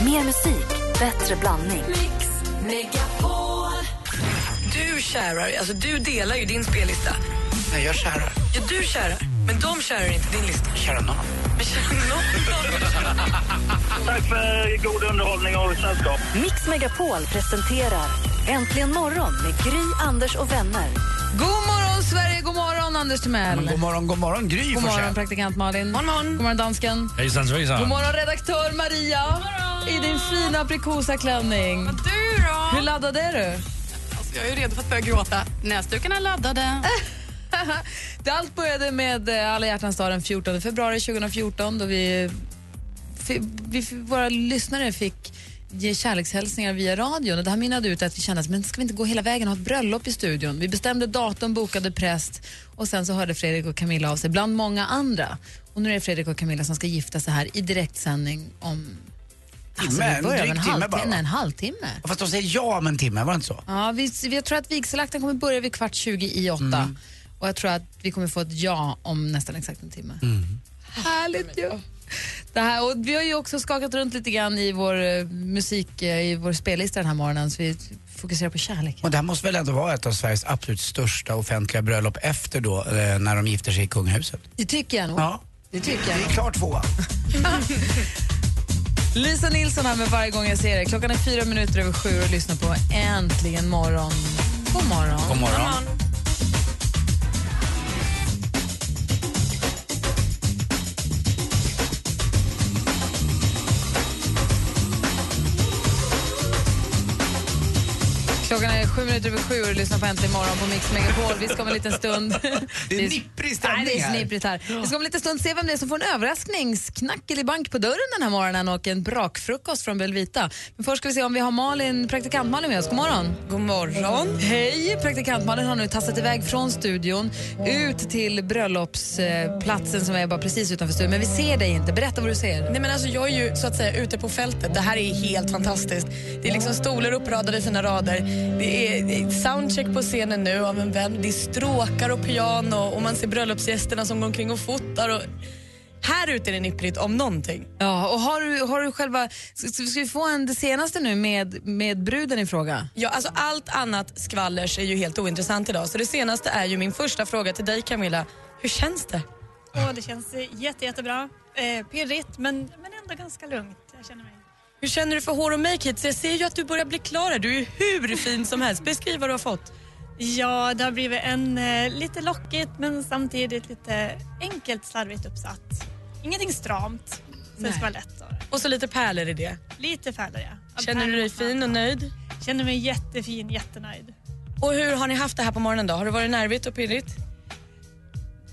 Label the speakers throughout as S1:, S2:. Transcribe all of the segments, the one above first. S1: Mer musik, bättre blandning.
S2: Mix Megapol.
S3: Du kärar, alltså du delar ju din spellista.
S4: Nej, jag kärar.
S3: Ja, du kärar, men de kärar inte din lista.
S4: Kärar någon.
S3: Men kärar någon av dem?
S5: Tack för god underhållning och sällskap.
S1: Mix Megapol presenterar Äntligen morgon med Gry, Anders och vänner.
S6: God morgon, Sverige! God morgon, Anders Timell!
S4: Men god morgon, god morgon, Gry
S6: God morgon,
S4: Forssell.
S6: praktikant Malin. God morgon, god morgon dansken.
S7: Hejsan svejsan.
S6: God morgon, redaktör Maria. I din fina aprikosa klänning.
S8: Du då? Alltså,
S6: Hur laddad är du?
S8: Jag är ju redo för att börja gråta. Näsdukarna är laddade.
S6: Det allt började med eh, Alla hjärtans dag den 14 februari 2014 då vi, fi- vi fi- våra lyssnare fick ge kärlekshälsningar via radion. Och det här mynnade ut att vi kände att men ska vi inte gå hela vägen och ha ett bröllop i studion? Vi bestämde datum, bokade präst och sen så hörde Fredrik och Camilla av sig bland många andra. Och nu är det Fredrik och Camilla som ska gifta sig här i direktsändning om
S4: Timme,
S6: det
S4: en
S6: börjar
S4: dryg
S6: med en
S4: timme
S6: halvtimme,
S4: bara, va?
S6: en halvtimme.
S4: Fast de säger ja om en timme, var det inte så?
S6: Ja, vi, vi, jag tror att vigselakten kommer börja vid kvart 20 i åtta. Och jag tror att vi kommer få ett ja om nästan exakt en timme. Härligt ju! Det här, och vi har ju också skakat runt lite grann i vår eh, musik, eh, i vår spellista den här morgonen, så vi fokuserar på kärlek.
S4: Och det här måste väl ändå vara ett av Sveriges absolut största offentliga bröllop efter då, eh, när de gifter sig i kungahuset?
S6: Det tycker jag nog.
S4: Ja.
S6: Det tycker jag.
S4: Det är klart tvåa.
S6: Lisa Nilsson här med Varje gång jag ser dig. Klockan är fyra minuter över sju och lyssna på Äntligen morgon. God morgon.
S4: God morgon.
S6: Klockan är sju minuter över sju och du lyssnar på Äntligen morgon på Mix Megapol. Vi ska om en liten stund...
S4: Det är nipprig stämning
S6: Nej, det är
S4: här.
S6: snipprigt här. Vi ska om en liten stund se vem det är som får en överraskningsknackel i bank på dörren den här morgonen och en brakfrukost från Belvita. Men först ska vi se om vi har Malin, praktikant Malin med oss. God morgon. God morgon. Hej! Praktikant Malin har nu tassat iväg från studion ut till bröllopsplatsen som är bara precis utanför studion. Men vi ser dig inte. Berätta vad du ser.
S2: Nej men alltså jag är ju så att säga ute på fältet. Det här är helt fantastiskt. Det är liksom stolar uppradade i fina rader. Det är det är soundcheck på scenen nu av en vän. Det är stråkar och piano och man ser bröllopsgästerna som går omkring och fotar. Och... Här ute är det nipprigt om någonting.
S6: Ja, och har du, har du själva... Ska, ska vi få en det senaste nu med, med bruden i fråga?
S2: Ja, alltså allt annat skvallers är ju helt ointressant idag. Så det senaste är ju min första fråga till dig Camilla. Hur känns det?
S9: Och det känns eh, jätte, jättebra. Eh, pirrigt, men, men ändå ganska lugnt. Jag känner mig.
S2: Hur känner du för hår och makeup? Jag ser ju att du börjar bli klar här. Du är hur fin som helst. Beskriv vad du har fått.
S9: Ja, det har blivit en eh, lite lockigt men samtidigt lite enkelt slarvigt uppsatt. Ingenting stramt, så det ska vara lätt. Och
S2: Och så lite pärlor i det.
S9: lite färre, ja. Av
S2: Känner du dig
S9: pärlor.
S2: fin och nöjd?
S9: Känner mig jättefin, jättenöjd.
S2: Och hur har ni haft det här på morgonen då? Har det varit nervigt och pirrigt?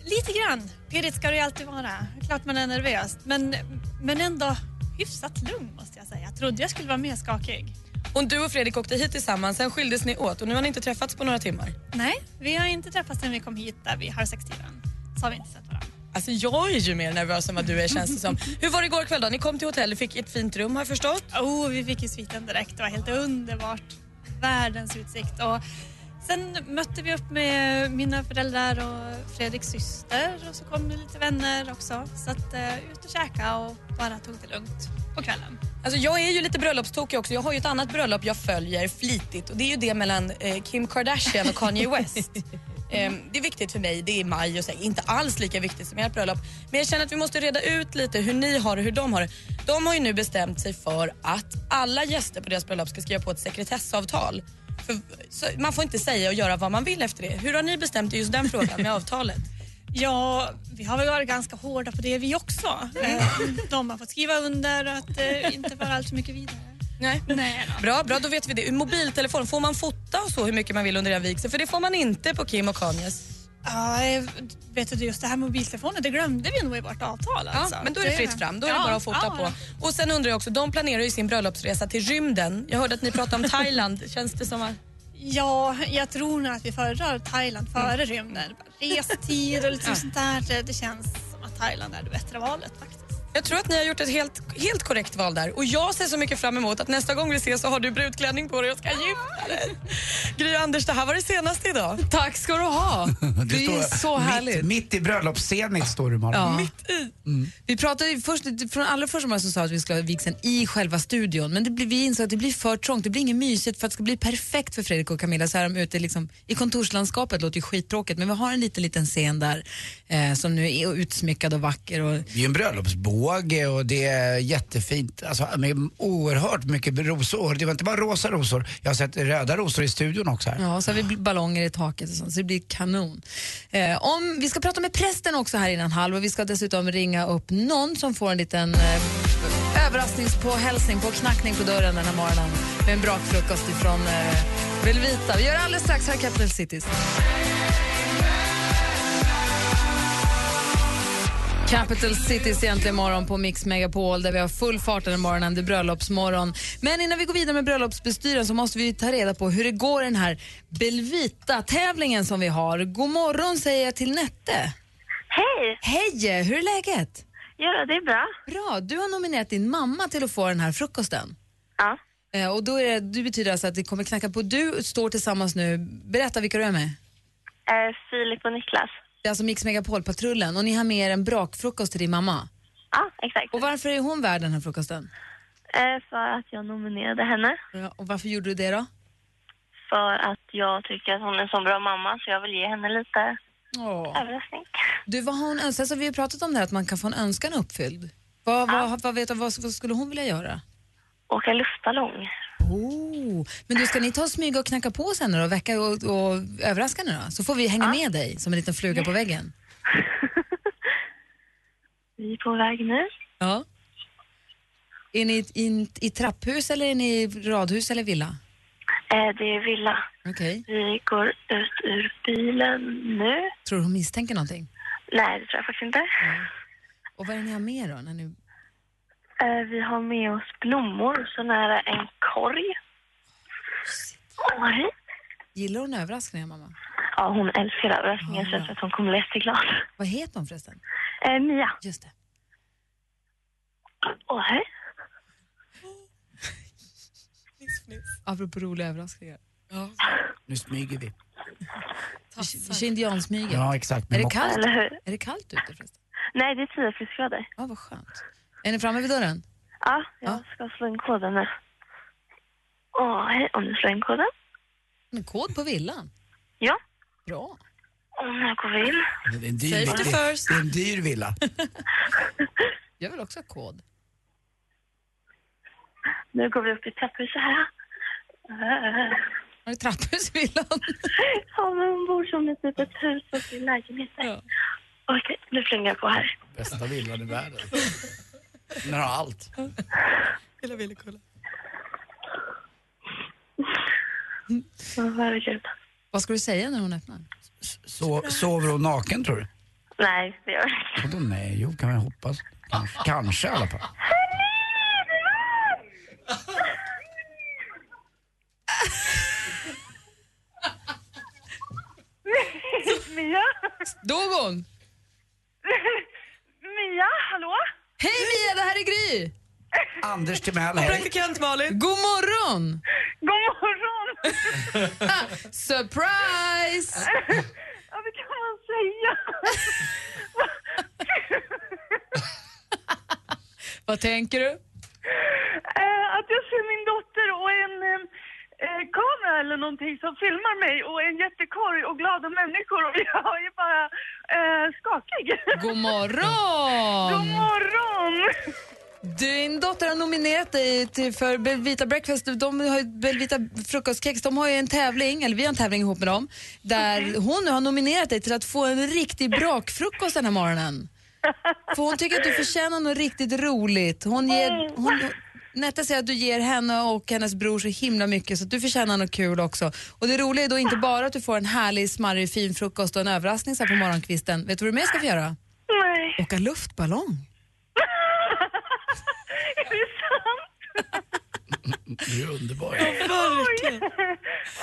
S9: Lite grann. Pirrigt ska det ju alltid vara. Klart man är nervös, men, men ändå hyfsat lugn måste jag säga. Jag trodde jag skulle vara mer skakig.
S2: Och du och Fredrik åkte hit tillsammans, sen skildes ni åt och nu har ni inte träffats på några timmar.
S9: Nej, vi har inte träffats sedan vi kom hit där vid halv sex-tiden. Så har vi inte sett varandra.
S2: Alltså jag är ju mer nervös än vad du är känns det som. Hur var det igår kväll då? Ni kom till hotellet, fick ett fint rum har jag förstått.
S9: Oh, vi fick ju sviten direkt. Det var helt underbart. Världens utsikt. Och sen mötte vi upp med mina föräldrar och Fredriks syster och så kom det lite vänner också. Så att, eh, ut och käka och bara tog det lugnt på kvällen.
S2: Alltså jag är ju lite bröllopstokig också. Jag har ju ett annat bröllop jag följer flitigt och det är ju det mellan eh, Kim Kardashian och Kanye West. Ehm, det är viktigt för mig, det är i maj och så, inte alls lika viktigt som ert bröllop. Men jag känner att vi måste reda ut lite hur ni har det och hur de har det. De har ju nu bestämt sig för att alla gäster på deras bröllop ska skriva på ett sekretessavtal. För, så, man får inte säga och göra vad man vill efter det. Hur har ni bestämt er just den frågan med avtalet?
S9: Ja, vi har väl varit ganska hårda på det vi också. Eh, De har fått skriva under och att eh, inte föra allt för mycket vidare.
S2: Nej.
S9: Nej, då.
S2: Bra, bra, då vet vi det. Ur mobiltelefon, får man fota och så hur mycket man vill under en vigsel? För det får man inte på Kim och Kanyes.
S9: Ja, eh, vet du, just det här med mobiltelefoner, det glömde vi nog i vårt avtal. Alltså.
S2: Ja, men då är det fritt fram. Då är det
S9: Ja,
S2: bara att fota
S9: ja, ja.
S2: på. Och sen undrar jag också, de planerar ju sin bröllopsresa till rymden. Jag hörde att ni pratade om Thailand. Känns det som att...
S9: Ja, jag tror nog att vi föredrar Thailand före
S2: Mm.
S9: rymden. Restid och lite sånt där. Det känns som att Thailand är det bättre valet faktiskt.
S2: Jag tror att ni har gjort ett helt, helt korrekt val där. Och jag ser så mycket fram emot att nästa gång vi ses så har du brudklänning på dig och ska gifta dig. Gry och Anders, det här var det senaste idag.
S6: Tack ska du ha. Det är så härligt.
S4: Mitt, mitt i bröllopsscenet står du Malin.
S6: Ja. Vi pratade ju först, från allra första början så sa att vi skulle ha vigseln i själva studion men det blir, vi insåg att det blir för trångt, det blir inget mysigt för att det ska bli perfekt för Fredrik och Camilla så här är de ute liksom, i kontorslandskapet, låter ju skittråkigt men vi har en liten, liten scen där eh, som nu är utsmyckad och vacker och
S4: Det är ju en bröllopsbåge och det är jättefint. Alltså med oerhört mycket rosor. Det var inte bara rosa rosor. Jag har sett röda rosor i studion också här.
S6: Ja, och så har vi bl- ballonger i taket och sånt, så det blir kanon. Eh, om, vi ska prata med prästen också här innan halv och vi ska dessutom ringa upp någon som får en liten eh, överraskningspåhälsning, på knackning på dörren den här morgonen med en brakfrukost ifrån eh, Velvita. Vi gör det alldeles strax här i Capital Cities. Capital Cities egentligen morgon på Mix Megapol där vi har full fart den här morgonen, det är bröllopsmorgon. Men innan vi går vidare med bröllopsbestyren så måste vi ju ta reda på hur det går i den här Belvita-tävlingen som vi har. God morgon säger jag till Nette.
S7: Hej!
S6: Hej, hur är läget?
S7: Ja, det är bra.
S6: Bra, du har nominerat din mamma till att få den här frukosten.
S7: Ja.
S6: Eh, och då är det, du betyder alltså att det kommer knacka på. Du står tillsammans nu, berätta vilka du är med.
S7: Eh, Filip och Niklas.
S6: Det är alltså Mix Megapol-patrullen och ni har med er en brakfrukost till din mamma.
S7: Ja, exakt.
S6: Och varför är hon värd den här frukosten?
S7: Eh, för att jag nominerade henne.
S6: Ja, och varför gjorde du det då?
S7: För att jag tycker att hon är en så bra mamma så jag vill ge henne lite överraskning.
S6: Du, vad har hon önskat? Alltså, vi har pratat om det här att man kan få en önskan uppfylld. Vad, vad, vad, vet, du- vad, vad skulle hon vilja göra?
S7: Åka luftballong.
S6: Oh. Men du, ska ni ta och smyga och knacka på sen då? Väcka och, och överraska nu då? Så får vi hänga med dig som en liten fluga på väggen.
S7: Vi är på väg nu.
S6: Ja. Är ni i, i, i trapphus eller är ni i radhus eller villa?
S7: Eh, det är villa.
S6: Okej.
S7: Vi går ut ur bilen nu.
S6: Tror du hon misstänker någonting?
S7: Nej, det tror jag faktiskt inte.
S6: Och vad är det ni har med då? När ni...
S7: Eh, vi har med oss blommor, så nära en korg. Oj.
S6: Gillar hon överraskningar mamma?
S7: Ja, hon älskar överraskningar så jag tror att hon kommer bli jätteglad.
S6: Vad heter hon förresten?
S7: Eh, Mia.
S6: Just det.
S7: Åh, hej.
S6: Apropå roliga överraskningar.
S4: Nu smyger vi.
S6: Vi kör indiansmyget.
S4: Ja, exakt.
S6: Är det kallt?
S7: Eller hur?
S6: Är det kallt ute förresten?
S7: Nej, det är 10 plusgrader.
S6: Ja, vad skönt. Är ni framme vid dörren?
S7: Ja, jag ska slå in koden nu. Åh, hej, om du slår in koden.
S6: En kod på villan?
S7: Ja.
S6: Bra.
S7: Och nu går vi in.
S4: Det är en dyr villa. Det är en dyr villa.
S6: Jag vill också ha kod.
S7: Nu går vi upp i trapphuset här. Eh,
S6: Har du trapphus i villan?
S7: Ja, men hon bor som i typ ett hus och i lägenheter. Okej, nu flänger jag på här.
S4: Bästa villan i världen. Den har allt.
S7: Åh, Herregud.
S6: Vad ska du säga när hon öppnar?
S4: Så, sover hon naken tror du?
S7: Nej, det gör jag inte.
S4: Vadå nej? Jo, kan man hoppas. Kanske, kanske i alla fall.
S7: Mia?
S6: Dog hon?
S7: Mia, hallå?
S6: Hej Mia, det här är Gry!
S4: Anders Timell, hej.
S2: Praktikant Malin.
S6: God morgon!
S7: God morgon!
S6: Surprise!
S7: Ja, det kan man säga.
S6: Vad tänker du?
S7: Eh, att jag ser min dotter och en eh, eh, kamera eller någonting som filmar mig och en jättekorg och glada människor och jag är bara eh, skakig.
S6: God
S7: God
S6: morgon!
S7: morgon!
S6: Din dotter har nominerat dig till för Belvita Breakfast. De har ju Belvita Frukostkex. De har ju en tävling, eller vi har en tävling ihop med dem, där hon nu har nominerat dig till att få en riktig brakfrukost den här morgonen. För hon tycker att du förtjänar något riktigt roligt. Hon ger, hon, Netta säger att du ger henne och hennes bror så himla mycket så att du förtjänar något kul också. Och det roliga är då inte bara att du får en härlig, smarrig, fin frukost och en överraskning så här på morgonkvisten. Vet du vad du mer ska få göra?
S7: Nej,
S6: Åka luftballong.
S7: är det sant?
S4: Du är underbar.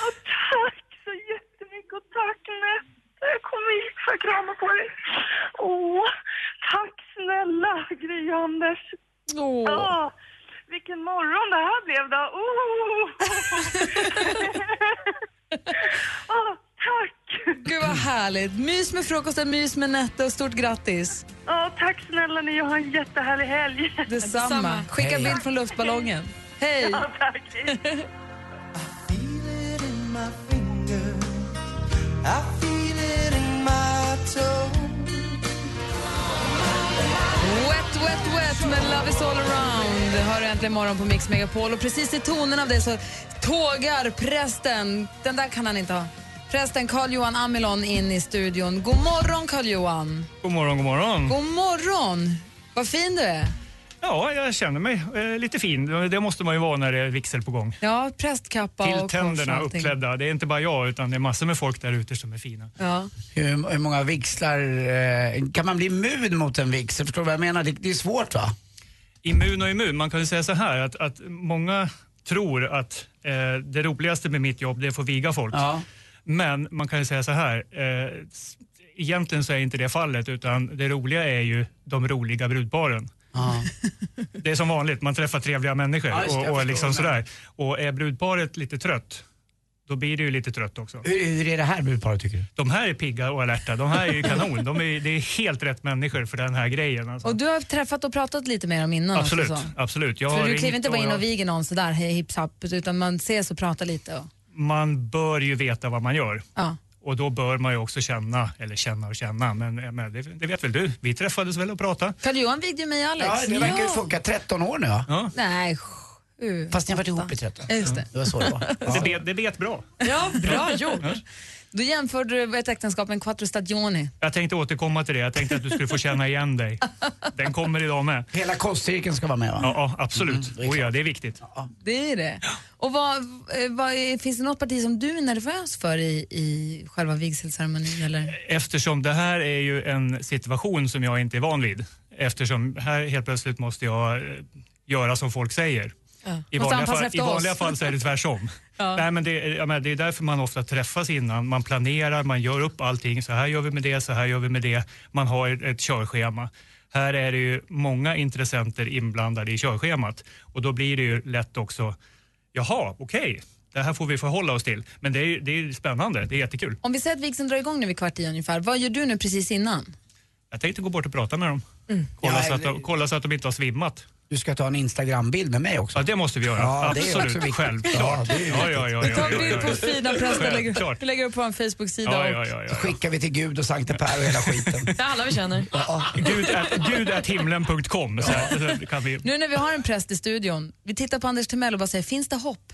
S7: Och tack så jättemycket och tack Nette. Jag kommer hit för att krama på dig. Åh, tack snälla Gry och Anders. vilken morgon det här blev då. Oh. Åh, tack!
S6: Gud vad härligt. Mys med frukosten, mys med Nette och stort grattis.
S7: Ja, tack snälla ni och ha en jättehärlig helg.
S6: Detsamma. Skicka
S4: Hej.
S6: bild från luftballongen. Hej!
S7: Ja, tack.
S6: Mm. Wet, wet, wet med Love is all around. Hör du äntligen morgon på Mix Megapol. Och precis i tonen av det så tågar prästen, den där kan han inte ha, prästen Carl-Johan Amilon in i studion. God morgon Carl-Johan.
S10: God morgon, god morgon.
S6: God morgon. Vad fin du är.
S10: Ja, jag känner mig eh, lite fin. Det måste man ju vara när det är vigsel på gång.
S6: Ja, prästkappa och
S10: Till
S6: kors
S10: tänderna
S6: och allting.
S10: uppklädda. Det är inte bara jag utan det är massor med folk där ute som är fina.
S6: Ja.
S4: Hur, hur många vigslar, eh, kan man bli immun mot en vigsel? Förstår du vad jag menar? Det, det är svårt va?
S10: Immun och immun, man kan ju säga så här att, att många tror att eh, det roligaste med mitt jobb det är att få viga folk.
S4: Ja.
S10: Men man kan ju säga så här, eh, s- egentligen så är inte det fallet utan det roliga är ju de roliga brudparen.
S4: ja.
S10: Det är som vanligt, man träffar trevliga människor
S4: Ja, just det, jag
S10: och, och,
S4: förstår
S10: liksom
S4: vad du
S10: sådär. och är brudparet lite trött, då blir det ju lite trött också.
S4: Hur, hur är det här brudparet tycker du?
S10: De här är pigga och alerta. De här är ju kanon. De är, det är helt rätt människor för den här grejen. Alltså.
S6: Och du har träffat och pratat lite med dem innan
S10: absolut,
S6: också. så.
S10: absolut. Jag har
S6: För du
S10: ringt
S6: kliver inte bara
S10: och
S6: in
S10: jag-
S6: och viger någon sådär hej hips happ, utan man ses och pratar lite. Och,
S10: Man bör ju veta vad man gör.
S6: ja.
S10: Och då bör man ju också känna, eller känna och känna, men, eh, men det, det vet väl du. Vi träffades väl och pratade.
S6: Carl-Johan vigde ju mig och Alex.
S4: Ja, det verkar ju funka. 13 år nu va?
S10: Ja.
S6: Nej, sju.
S4: Fast ni har varit ihop i 13.
S6: Ja, Just det.
S4: Det var så det var.
S10: Det,
S4: Ja.
S10: bet, det bet bra.
S6: Ja, bra gjort. Då jämförde du ett äktenskap med en quattro stagioni.
S10: Jag tänkte återkomma till det. Jag tänkte att du skulle få känna igen dig. Den kommer idag med.
S4: Hela kostcirkeln ska vara med va? Mm,
S10: Ja, ja absolut.
S4: det är
S10: oh, ja, det är viktigt.
S6: Det är det. Och vad, eh, vad, är- finns det något parti som du är nervös för i, i själva vigselceremonin? Eller?
S10: Eftersom det här är ju en situation som jag inte är van vid. Eftersom här helt plötsligt måste jag eh, göra som folk säger. I,
S6: Måste
S10: vanliga
S6: anpassa
S10: fall,
S6: efter
S10: I vanliga
S6: oss.
S10: fall så är det tvärsom. Nej, men det, är- jag menar, det är därför man ofta träffas innan. Man planerar, man gör upp allting. Så här gör vi med det, så här gör vi med det. Man har ett, ett körschema. Här är det ju många intressenter inblandade i körschemat och då blir det ju lätt också, jaha, okej, det här får vi förhålla oss till. Men det är, det är spännande, det är jättekul.
S6: Om vi säger att vigseln drar igång nu vid kvart i ungefär, vad gör du nu precis innan?
S10: Jag tänkte gå bort och prata med dem.
S6: Mm.
S10: Kolla,
S4: Ja,
S10: så att de,
S4: eller-
S10: kolla så att de inte har svimmat.
S4: Du ska ta en Instagram-bild med mig också.
S10: Ja, det måste vi göra.
S4: Ja, det är också
S10: Absolut,
S4: viktigt. Ja,
S10: självklart.
S4: det är ju
S10: Ja, ja, ja, ja,
S6: Ta en
S10: ja,
S6: bild på
S10: ja,
S6: fina präster och lägger,
S10: Självklart.
S6: lägger upp på en Facebook-sida.
S10: ja,
S6: och-
S10: ja, ja,
S4: Så
S10: ja.
S4: skickar vi till Gud och Sankte Per och hela skiten.
S2: Det är alla vi känner.
S10: Gud at, gud at himlen.com. Så här, så kan vi.
S6: Nu när vi har en präst i studion, vi tittar på Anders Timell och bara säger, finns det hopp?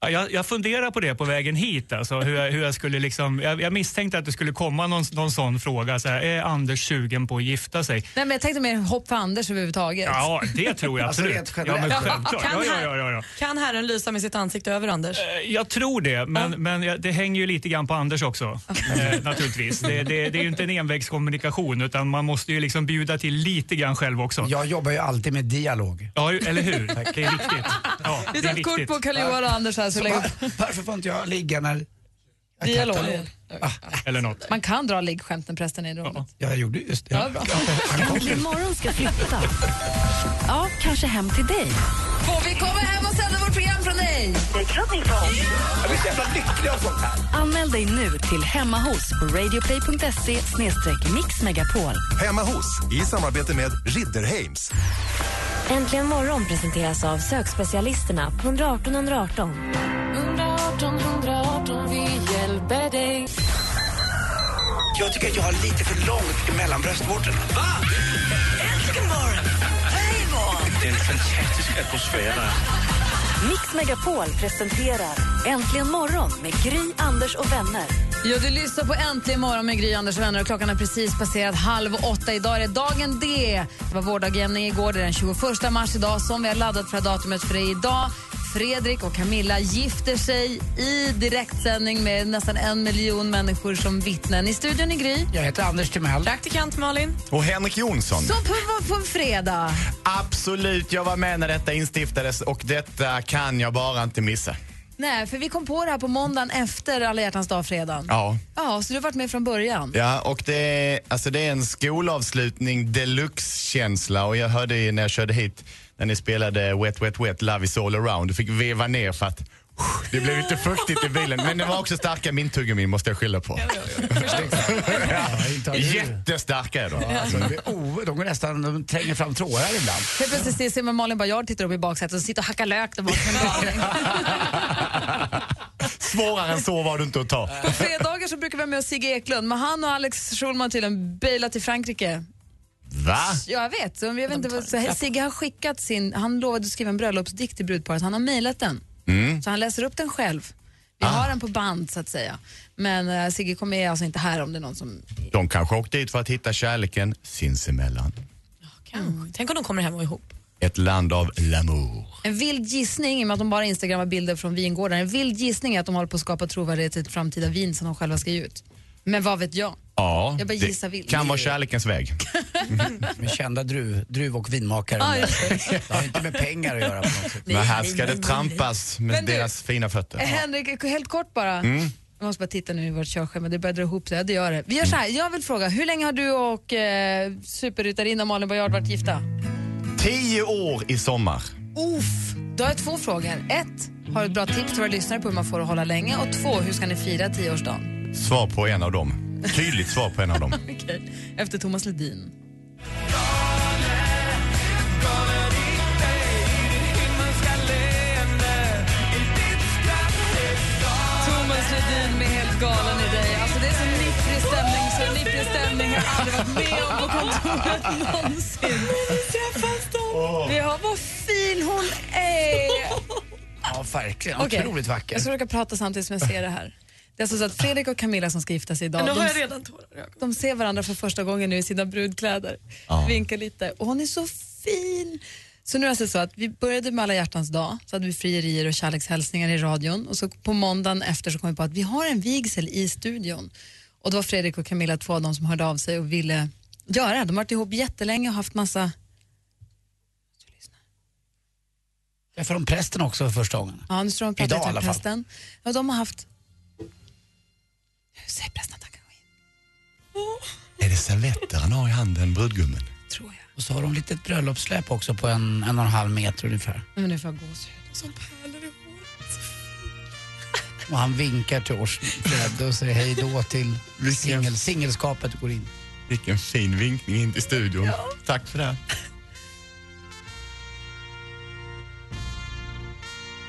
S10: Ja, Jag, jag funderar på det på vägen hit. Alltså, hur jag, hur jag, skulle liksom, jag, jag misstänkte att det skulle komma någon, någon sån fråga. Så här, är Anders sugen på att gifta sig?
S6: Nej, men jag tänkte mer hopp för Anders överhuvudtaget.
S10: Ja, det tror jag
S4: Alltså,
S10: absolut.
S4: rent
S10: ja, men
S4: generellt.
S10: självklart. Ja, ja, ja, ja, ja.
S2: Kan Herren lysa med sitt ansikte över Anders?
S10: Eh, Jag tror det, men, men jag- det hänger ju lite grann på Anders också. eh, naturligtvis. Det, det, det är ju inte en envägskommunikation utan man måste ju liksom bjuda till lite grann själv också. Ja,
S4: Jag jobbar ju alltid med dialog.
S10: ju- eller hur? Det är viktigt. Ja,
S6: Vi
S10: det är
S6: tar ett kort
S10: viktigt.
S6: på Carl-Johan och Anders här så lägger upp
S4: Var- Varför får inte jag ligga när... Jag kan inte-
S6: dialog.
S10: Eller något.
S6: Man kan dra liggskämt när prästen är i rummet.
S4: Ja, jag gjorde just det.
S6: Ja, bra.
S1: Äntligen morgon ska flytta. Ja, kanske hem till dig.
S6: Får vi komma hem och sända vårt program från dig?
S4: Jag blir så jävla lycklig av sånt här.
S1: Anmäl dig nu till Hemma hos på radioplay.se mixmegapol.
S11: Hemma hos, i samarbete med Ridderheims.
S1: Äntligen morgon presenteras av sökspecialisterna på 118 118.
S4: Jag tycker att jag har lite för långt mellan bröstvårtorna.
S1: Mix Megapol presenterar Äntligen morgon med Gry, Anders och vänner.
S6: Ja, du lyssnar på Äntligen morgon med Gry Anders och vänner och klockan har precis passerat halv åtta. Idag är det dagen D. Det var vårdagen igår, det är den 21 mars idag som vi har laddat för datumet för det är idag. Fredrik och Camilla gifter sig i direktsändning med nästan en miljon människor som vittnen. I studion i Gry,
S4: Jag heter Anders Timell.
S2: Praktikant Malin.
S11: Och Henrik Jonsson.
S6: som på, på en fredag.
S11: Absolut, jag var med när detta instiftades och detta kan jag bara inte missa.
S6: Nej, för vi kom på det här på måndagen efter alla hjärtans dag-fredagen.
S11: Ja.
S6: Ja, så du har varit med från början.
S11: Ja, och det är, alltså det är en skolavslutning deluxe-känsla och jag hörde ju när jag körde hit när ni spelade Wet Wet Wet, Love is all around. Du fick veva ner för att uh, det blev lite fuktigt i bilen. Men det var också starka minttuggummin måste jag skylla på. Jättestarka är de.
S4: Alltså, det är o- de går nästan, de tränger fram trådar ibland.
S6: Helt plötsligt ser- ser man Malin Baryard tittar upp i baksätet och sitter och hackar lök där bakom.
S11: Svårare än så var du inte att ta.
S6: På fredagar så brukar vi ha med oss Sigge Eklund, men han och Alex Schulman har tydligen bailat till Frankrike.
S11: Va?
S6: Ja, jag vet. Så Jag vet inte, vad- så här, Sigge har skickat sin, han lovade att skriva en bröllopsdikt till brudparet, han har mejlat den.
S11: Mm.
S6: Så han läser upp den själv. Vi har den på band så att säga. Men eh, Sigge kommer är alltså inte här om det är någon som...
S11: De kanske åkte dit för att hitta kärleken sinsemellan.
S2: Tänk om de kommer hem och är ihop.
S11: Ett land av l'amour.
S6: En vild gissning, i och med att de bara instagrammar bilder från vingården, en vild gissning är att de håller på att skapa trovärdighet till ett framtida vin som de själva ska ge ut. Men vad vet jag?
S11: Ja,
S6: Jag bara
S11: det
S6: gissar vilt.
S11: kan vara kärlekens väg.
S4: Med kända druv, druv och vinmakare.
S6: Ja,
S4: det har inte med pengar att göra på något sätt.
S11: Men här ska det trampas med deras fina fötter.
S6: Eh,
S4: Äh.
S6: Henrik, helt kort bara.
S11: Mm.
S6: Jag måste bara titta nu i vårt körschema, det börjar dra ihop sig. Ja, det gör det. Vi gör så här, jag vill fråga, hur länge har du och eh, superryttarinnan Malin Baryard varit gifta?
S11: Tio år i sommar.
S6: Uff, då har jag två frågor. Ett, har du ett bra tips till våra lyssnare på hur man får att hålla länge? Och två, hur ska ni fira tioårsdagen?
S11: Svar på en av dem. Tydligt svar på en av dem.
S6: Okej, efter Thomas Ledin. Thomas Ledin med Helt galen i dig. Alltså det är så nipprig stämning så nipprig stämning har jag aldrig varit med om på kontoret någonsin. Vi har vad fin hon är!
S4: Ja, verkligen.
S6: Okej.
S4: Otroligt vacker.
S6: Jag ska försöka prata samtidigt som jag ser det här. Det är alltså så att Fredrik och Camilla som ska gifta sig idag.
S9: Men då har
S6: de-
S9: jag redan tårar i ögonen.
S6: De ser varandra för första gången nu i sina brudkläder.
S9: Ja.
S6: Vinkar lite. Och hon är så fin! Så nu är det alltså så att vi började med alla hjärtans dag, så hade vi frierier och kärlekshälsningar i radion och så på måndagen efter så kom vi på att vi har en vigsel i studion. Och det var Fredrik och Camilla, två av dem som hörde av sig och ville göra. De har varit ihop jättelänge och haft massa
S4: Träffade de prästen också för första gången?
S6: Ja, nu står de och
S4: Idag i
S6: pratar
S4: alla
S6: med
S4: fall.
S6: prästen. Ja, de har haft... Hur säger prästen att han kan gå
S11: Är det servetter han har i handen, brudgummen?
S6: in? Tror jag.
S4: Och så har de litet bröllopssläp också på en, en och en halv meter ungefär.
S6: Nej, Men nu får jag gåshud. Som pärlor i
S4: Och han vinkar till oss Fred och säger hej då till singel, singelskapet går in.
S11: Vilken fin vinkning in till studion. Tack för det.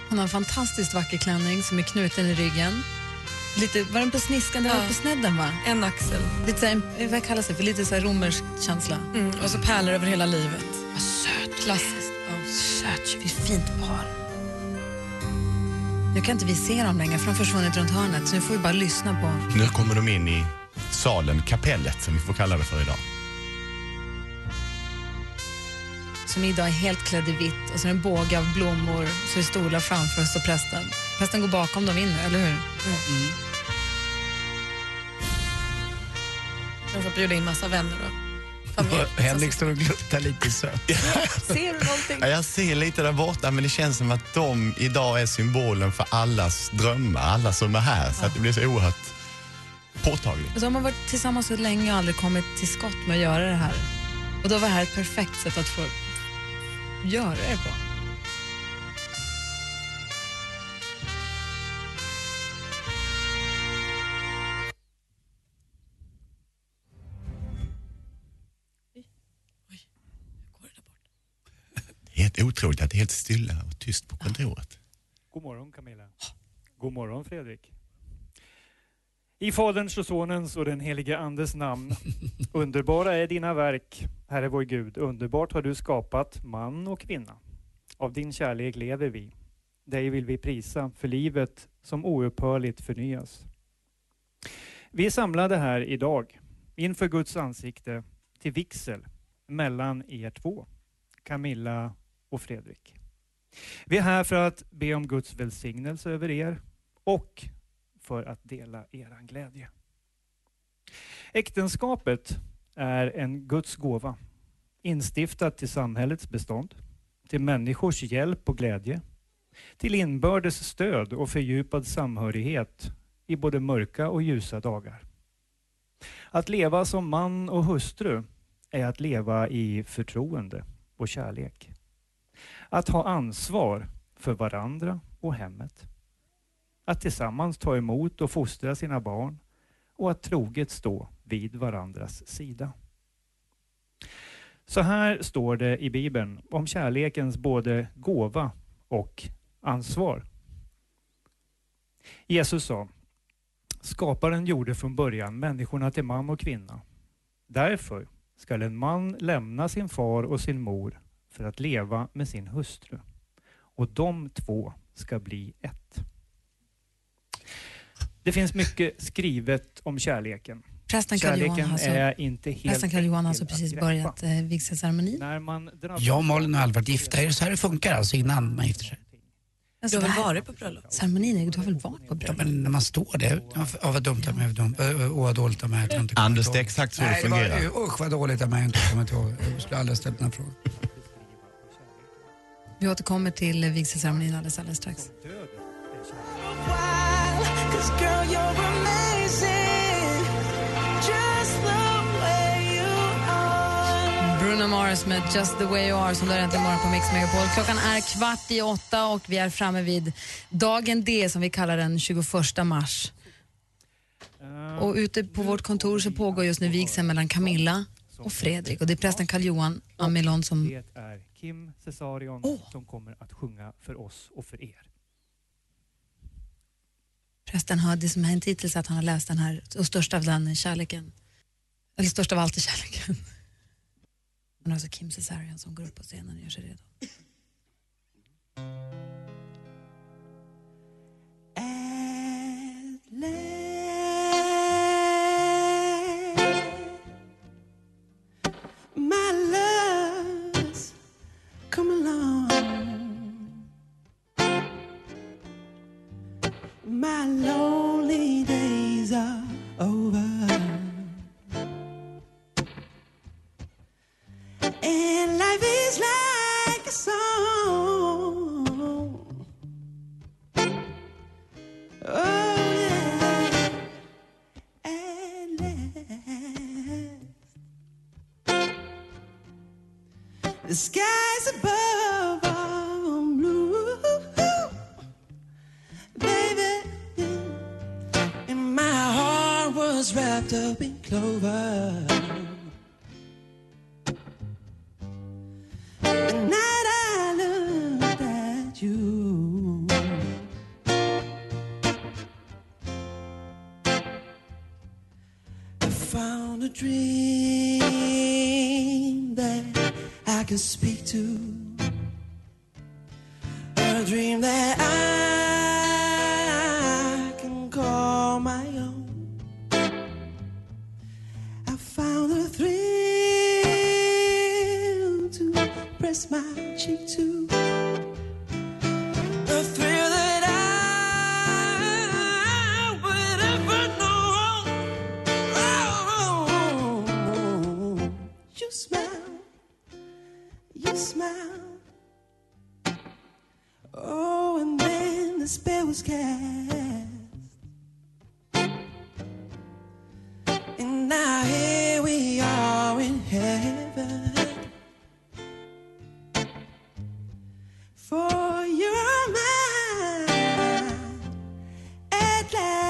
S6: Hon har en fantastiskt vacker klänning som är knuten i ryggen. Lite, var den på sniskan? Den var på snedden va?
S2: En axel.
S6: Lite så här, en- vad kallas det för? Lite så här romersk känsla.
S2: Mm, och så pärlor över hela livet. Vad
S6: söt.
S2: Klassiskt.
S6: Ja. Söt, vilket fint par. Nu kan inte vi se dem längre för de har försvunnit runt hörnet så nu får vi bara lyssna på.
S11: Nu kommer de in i salen, kapellet som vi får kalla det för idag.
S6: Som idag är helt klädd i vitt och så är det en båge av blommor så är stolar framför oss och prästen. Prästen går bakom dem in nu, eller hur?
S10: Mm.
S2: De får bjuda in massa vänner och
S4: Henrik står och gluttar lite söt.
S6: Ser du någonting?
S11: Ja, Jag ser lite där borta, men det känns som att de idag är symbolen för allas drömmar, alla som är här. Så att det blir så oerhört påtagligt.
S6: Och så har man varit tillsammans så länge och aldrig kommit till skott med att göra det här. Och då var det här ett perfekt sätt att få göra det på.
S11: Helt otroligt att det är helt stilla och tyst på kontoret.
S10: God morgon Camilla. God morgon Fredrik. I Faderns och Sonens och den helige Andes namn. Underbara är dina verk, Herre vår Gud. Underbart har du skapat man och kvinna. Av din kärlek lever vi. Dig vill vi prisa för livet som oupphörligt förnyas. Vi är samlade här idag inför Guds ansikte till vigsel mellan er två, Camilla och Fredrik. Vi är här för att be om Guds välsignelse över er och för att dela eran glädje. Äktenskapet är en Guds gåva, instiftat till samhällets bestånd, till människors hjälp och glädje, till inbördes stöd och fördjupad samhörighet i både mörka och ljusa dagar. Att leva som man och hustru är att leva i förtroende och kärlek. Att ha ansvar för varandra och hemmet. Att tillsammans ta emot och fostra sina barn och att troget stå vid varandras sida. Så här står det i Bibeln om kärlekens både gåva och ansvar. Jesus sa, Skaparen gjorde från början människorna till man och kvinna. Därför skall en man lämna sin far och sin mor för att leva med sin hustru. Och de två ska bli ett. Det finns mycket skrivet om kärleken.
S6: Prästen Carl
S10: Kärleken
S6: Johan har så-
S10: är inte helt
S6: Prästen Carl Johan har
S10: enkel
S6: så
S10: att
S6: precis
S10: greppa.
S6: börjat eh, vigselceremonin.
S10: När man drabbas-
S4: Jag och Malin har aldrig varit gifta. Är det så här det funkar alltså innan man gifter sig?
S6: Du har väl varit på bröllop? Ceremonin, är- du har väl varit på bröllop?
S4: Men när man står där, ja, för- ja vad dumt av mig, vad dumt. Ö, ö, åh, vad dåligt av mig. att jag inte kommer
S11: Anders,
S4: ihåg.
S11: det är exakt så det
S4: Nej,
S11: fungerar.
S4: var, usch vad dåligt av mig, jag inte kommer inte ihåg. Jag skulle aldrig ha ställt den här frågan.
S6: Vi återkommer till eh, vigselceremonin alldeles, alldeles strax. Bruno Mars med Just the way you are som du har äntligen morgon på Mix Megapol. Klockan är kvart i åtta och vi är framme vid dagen D som vi kallar den 21 mars. Och ute på vårt kontor så pågår just nu vigseln mellan Camilla och Fredrik och det är prästen Carl Johan Amelon som...
S10: Det är Kim Cesarion som kommer att sjunga för oss och för er.
S6: Prästen har det som hänt hittills är att han har läst den här och störst av den är kärleken. Eller störst av allt är kärleken. Men alltså Kim Cesarion som går upp på scenen och gör sig redo.
S12: My love's come along. My lonely days are over. And life is like a song. Oh, yeah. At last. The skies above are blue, baby. And my heart was wrapped up in clover. The night I looked at you. I found a dream that I can speak to. A dream that I can call my own. I found a thrill to press my cheek to. A thrill that I would ever know. Oh, you smile you smile. Oh, and then the spell was cast. And now here we are in heaven. For you're mine at last.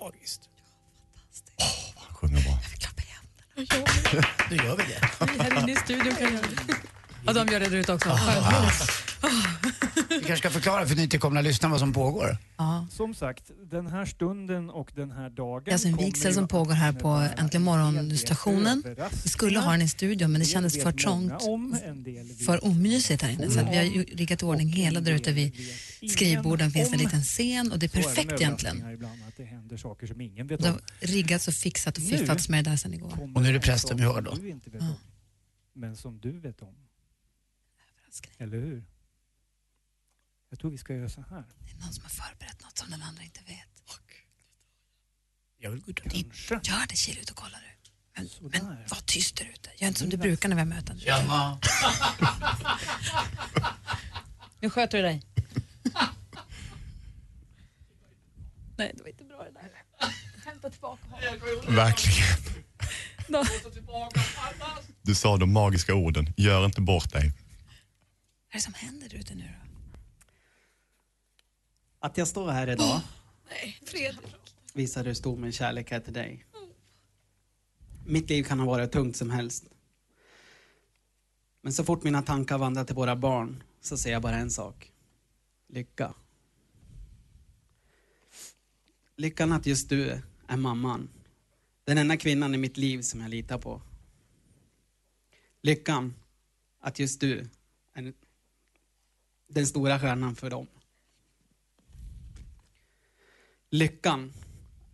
S4: Magiskt.
S6: Nu gör vi det. Vi här inne i studion kan göra det. Ja, de gör det där ute också.
S4: Ah.
S6: Ah.
S4: Vi kanske ska förklara för nytillkomna lyssnare vad som pågår.
S6: Ah.
S10: Som sagt, den här stunden och den här dagen...
S6: Det är alltså en
S10: kommer
S6: vigsel
S10: ju
S6: som
S10: att
S6: pågår här på Äntligen morgon-stationen. Vi skulle ha den i studion men det kändes
S10: vet
S6: för
S10: många
S6: trångt,
S10: om, en del vet
S6: för omysigt här inne. Så att vi har ju riggat i ordning hela där ute vid skrivborden finns det en
S10: om.
S6: liten scen och det är
S10: Så med
S6: perfekt egentligen.
S10: överraskningar Ibland, att det händer saker som ingen vet
S6: Det
S10: om.
S6: har riggats och fixat och fiffats med det där sedan igår.
S4: Och nu är det prästen vi hör då.
S10: Du inte vet
S6: Ja.
S10: om, men som du vet om. Eller hur?
S13: Jag tror vi ska göra så här.
S6: Någon som har förberett något som den andra inte vet.
S4: Jag vill gå
S6: Typ.
S4: ut
S6: Gör det, kil ut och kolla du. Men, men var tyst där ute. Gör inte som du brukar när vi har möten.
S4: Tjena.
S6: Nu sköter du dig. Nej, det var inte bra det där. Hämta tillbaka honom.
S11: Verkligen.
S6: Nå-
S11: Du sa de magiska orden, gör inte bort dig.
S6: Vad är det som händer där ute nu då?
S14: Att jag står här idag
S6: Nej, Fredrik.
S14: visar hur stor min kärlek är till dig. Mitt liv kan ha varit tungt som helst. Men så fort mina tankar vandrar till våra barn så ser jag bara en sak. Lycka. Lyckan att just du är mamman. Den enda kvinnan i mitt liv som jag litar på. Lyckan att just du är den stora stjärnan för dem. lyckan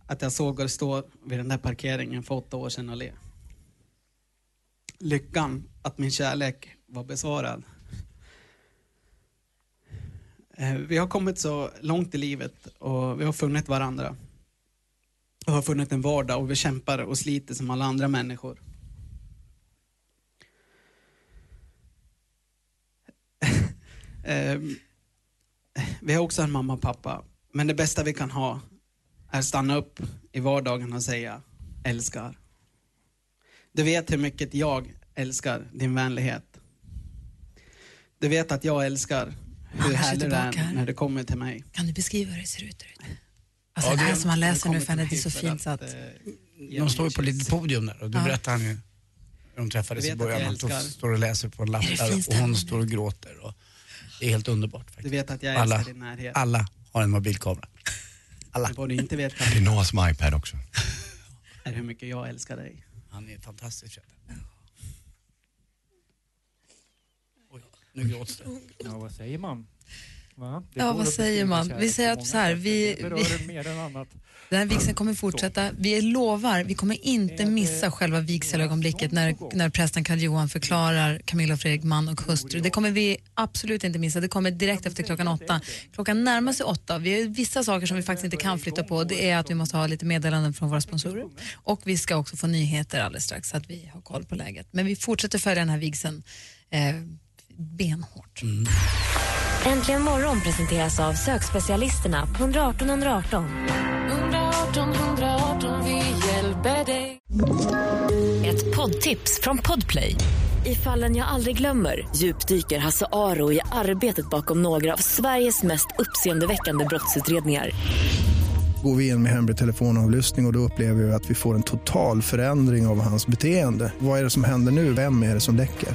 S14: att jag såg er stå vid den där parkeringen för åtta år sedan och le. Lyckan att min kärlek var besvarad. Eh, Vi har kommit så långt i livet och vi har funnit varandra. Och har funnit en vardag och vi kämpar och sliter som alla andra människor. Eh, Vi har också en mamma och pappa men det bästa vi kan ha är att stanna upp i vardagen och säga älskar. Du vet hur mycket jag älskar din vänlighet. Du vet att jag älskar hur
S6: Anders är
S14: härlig du
S6: tillbaka
S14: är
S6: här.
S14: när du kommer till mig.
S6: Kan du beskriva hur det ser ut där ute? Alltså det här som man läser nu, fan, det är så fint så att...
S4: De Eh, står ju på lite podium där och då
S6: Ja.
S4: berättar han ju hur de träffades
S14: Du
S4: i
S14: vet att jag
S4: början. Att de
S14: älskar.
S4: står och läser på en lapp
S14: Är det
S4: där
S14: finns
S4: och
S14: det
S4: hon står och gråter. Och det är helt underbart faktiskt.
S14: Du vet att jag
S4: alla,
S14: älskar din närhet.
S4: alla har en mobilkamera. Alla.
S14: Vad du inte vet kan
S11: Det är Noahs med iPad också.
S14: är hur mycket jag älskar dig.
S4: Han är fantastisk. vet du. Oj, nu gråts det.
S13: Ja, vad säger man? Va? Det
S6: Ja,
S13: går
S6: vad
S13: att
S6: säger
S13: beskriva
S6: man?
S13: kärlek
S6: Vi säger
S13: på
S6: att så
S13: många
S6: här,
S13: sätt.
S6: vi...
S13: Det
S6: vi
S13: Berör mer än annat.
S6: den här vigseln kommer fortsätta. Vi lovar, vi kommer inte missa själva vigselögonblicket när, när prästen Karl Johan förklarar Camilla och Fredrik man och hustru. Det kommer vi absolut inte missa. Det kommer direkt efter klockan åtta. Klockan närmar sig åtta. Vi har vissa saker som vi faktiskt inte kan flytta på. Det är att vi måste ha lite meddelanden från våra sponsorer och vi ska också få nyheter alldeles strax så att vi har koll på läget. Men vi fortsätter följa den här vigseln eh, benhårt.
S1: Äntligen morgon presenteras av sökspecialisterna på 118 118. 118 118, vi hjälper dig.
S15: Ett poddtips från Podplay. I fallen jag aldrig glömmer djupdyker Hasse Aro i arbetet bakom några av Sveriges mest uppseendeväckande brottsutredningar.
S16: Går vi in med hemlig telefonavlyssning och, och då upplever vi att vi får en total förändring av hans beteende. Vad är det som händer nu? Vem är det som läcker?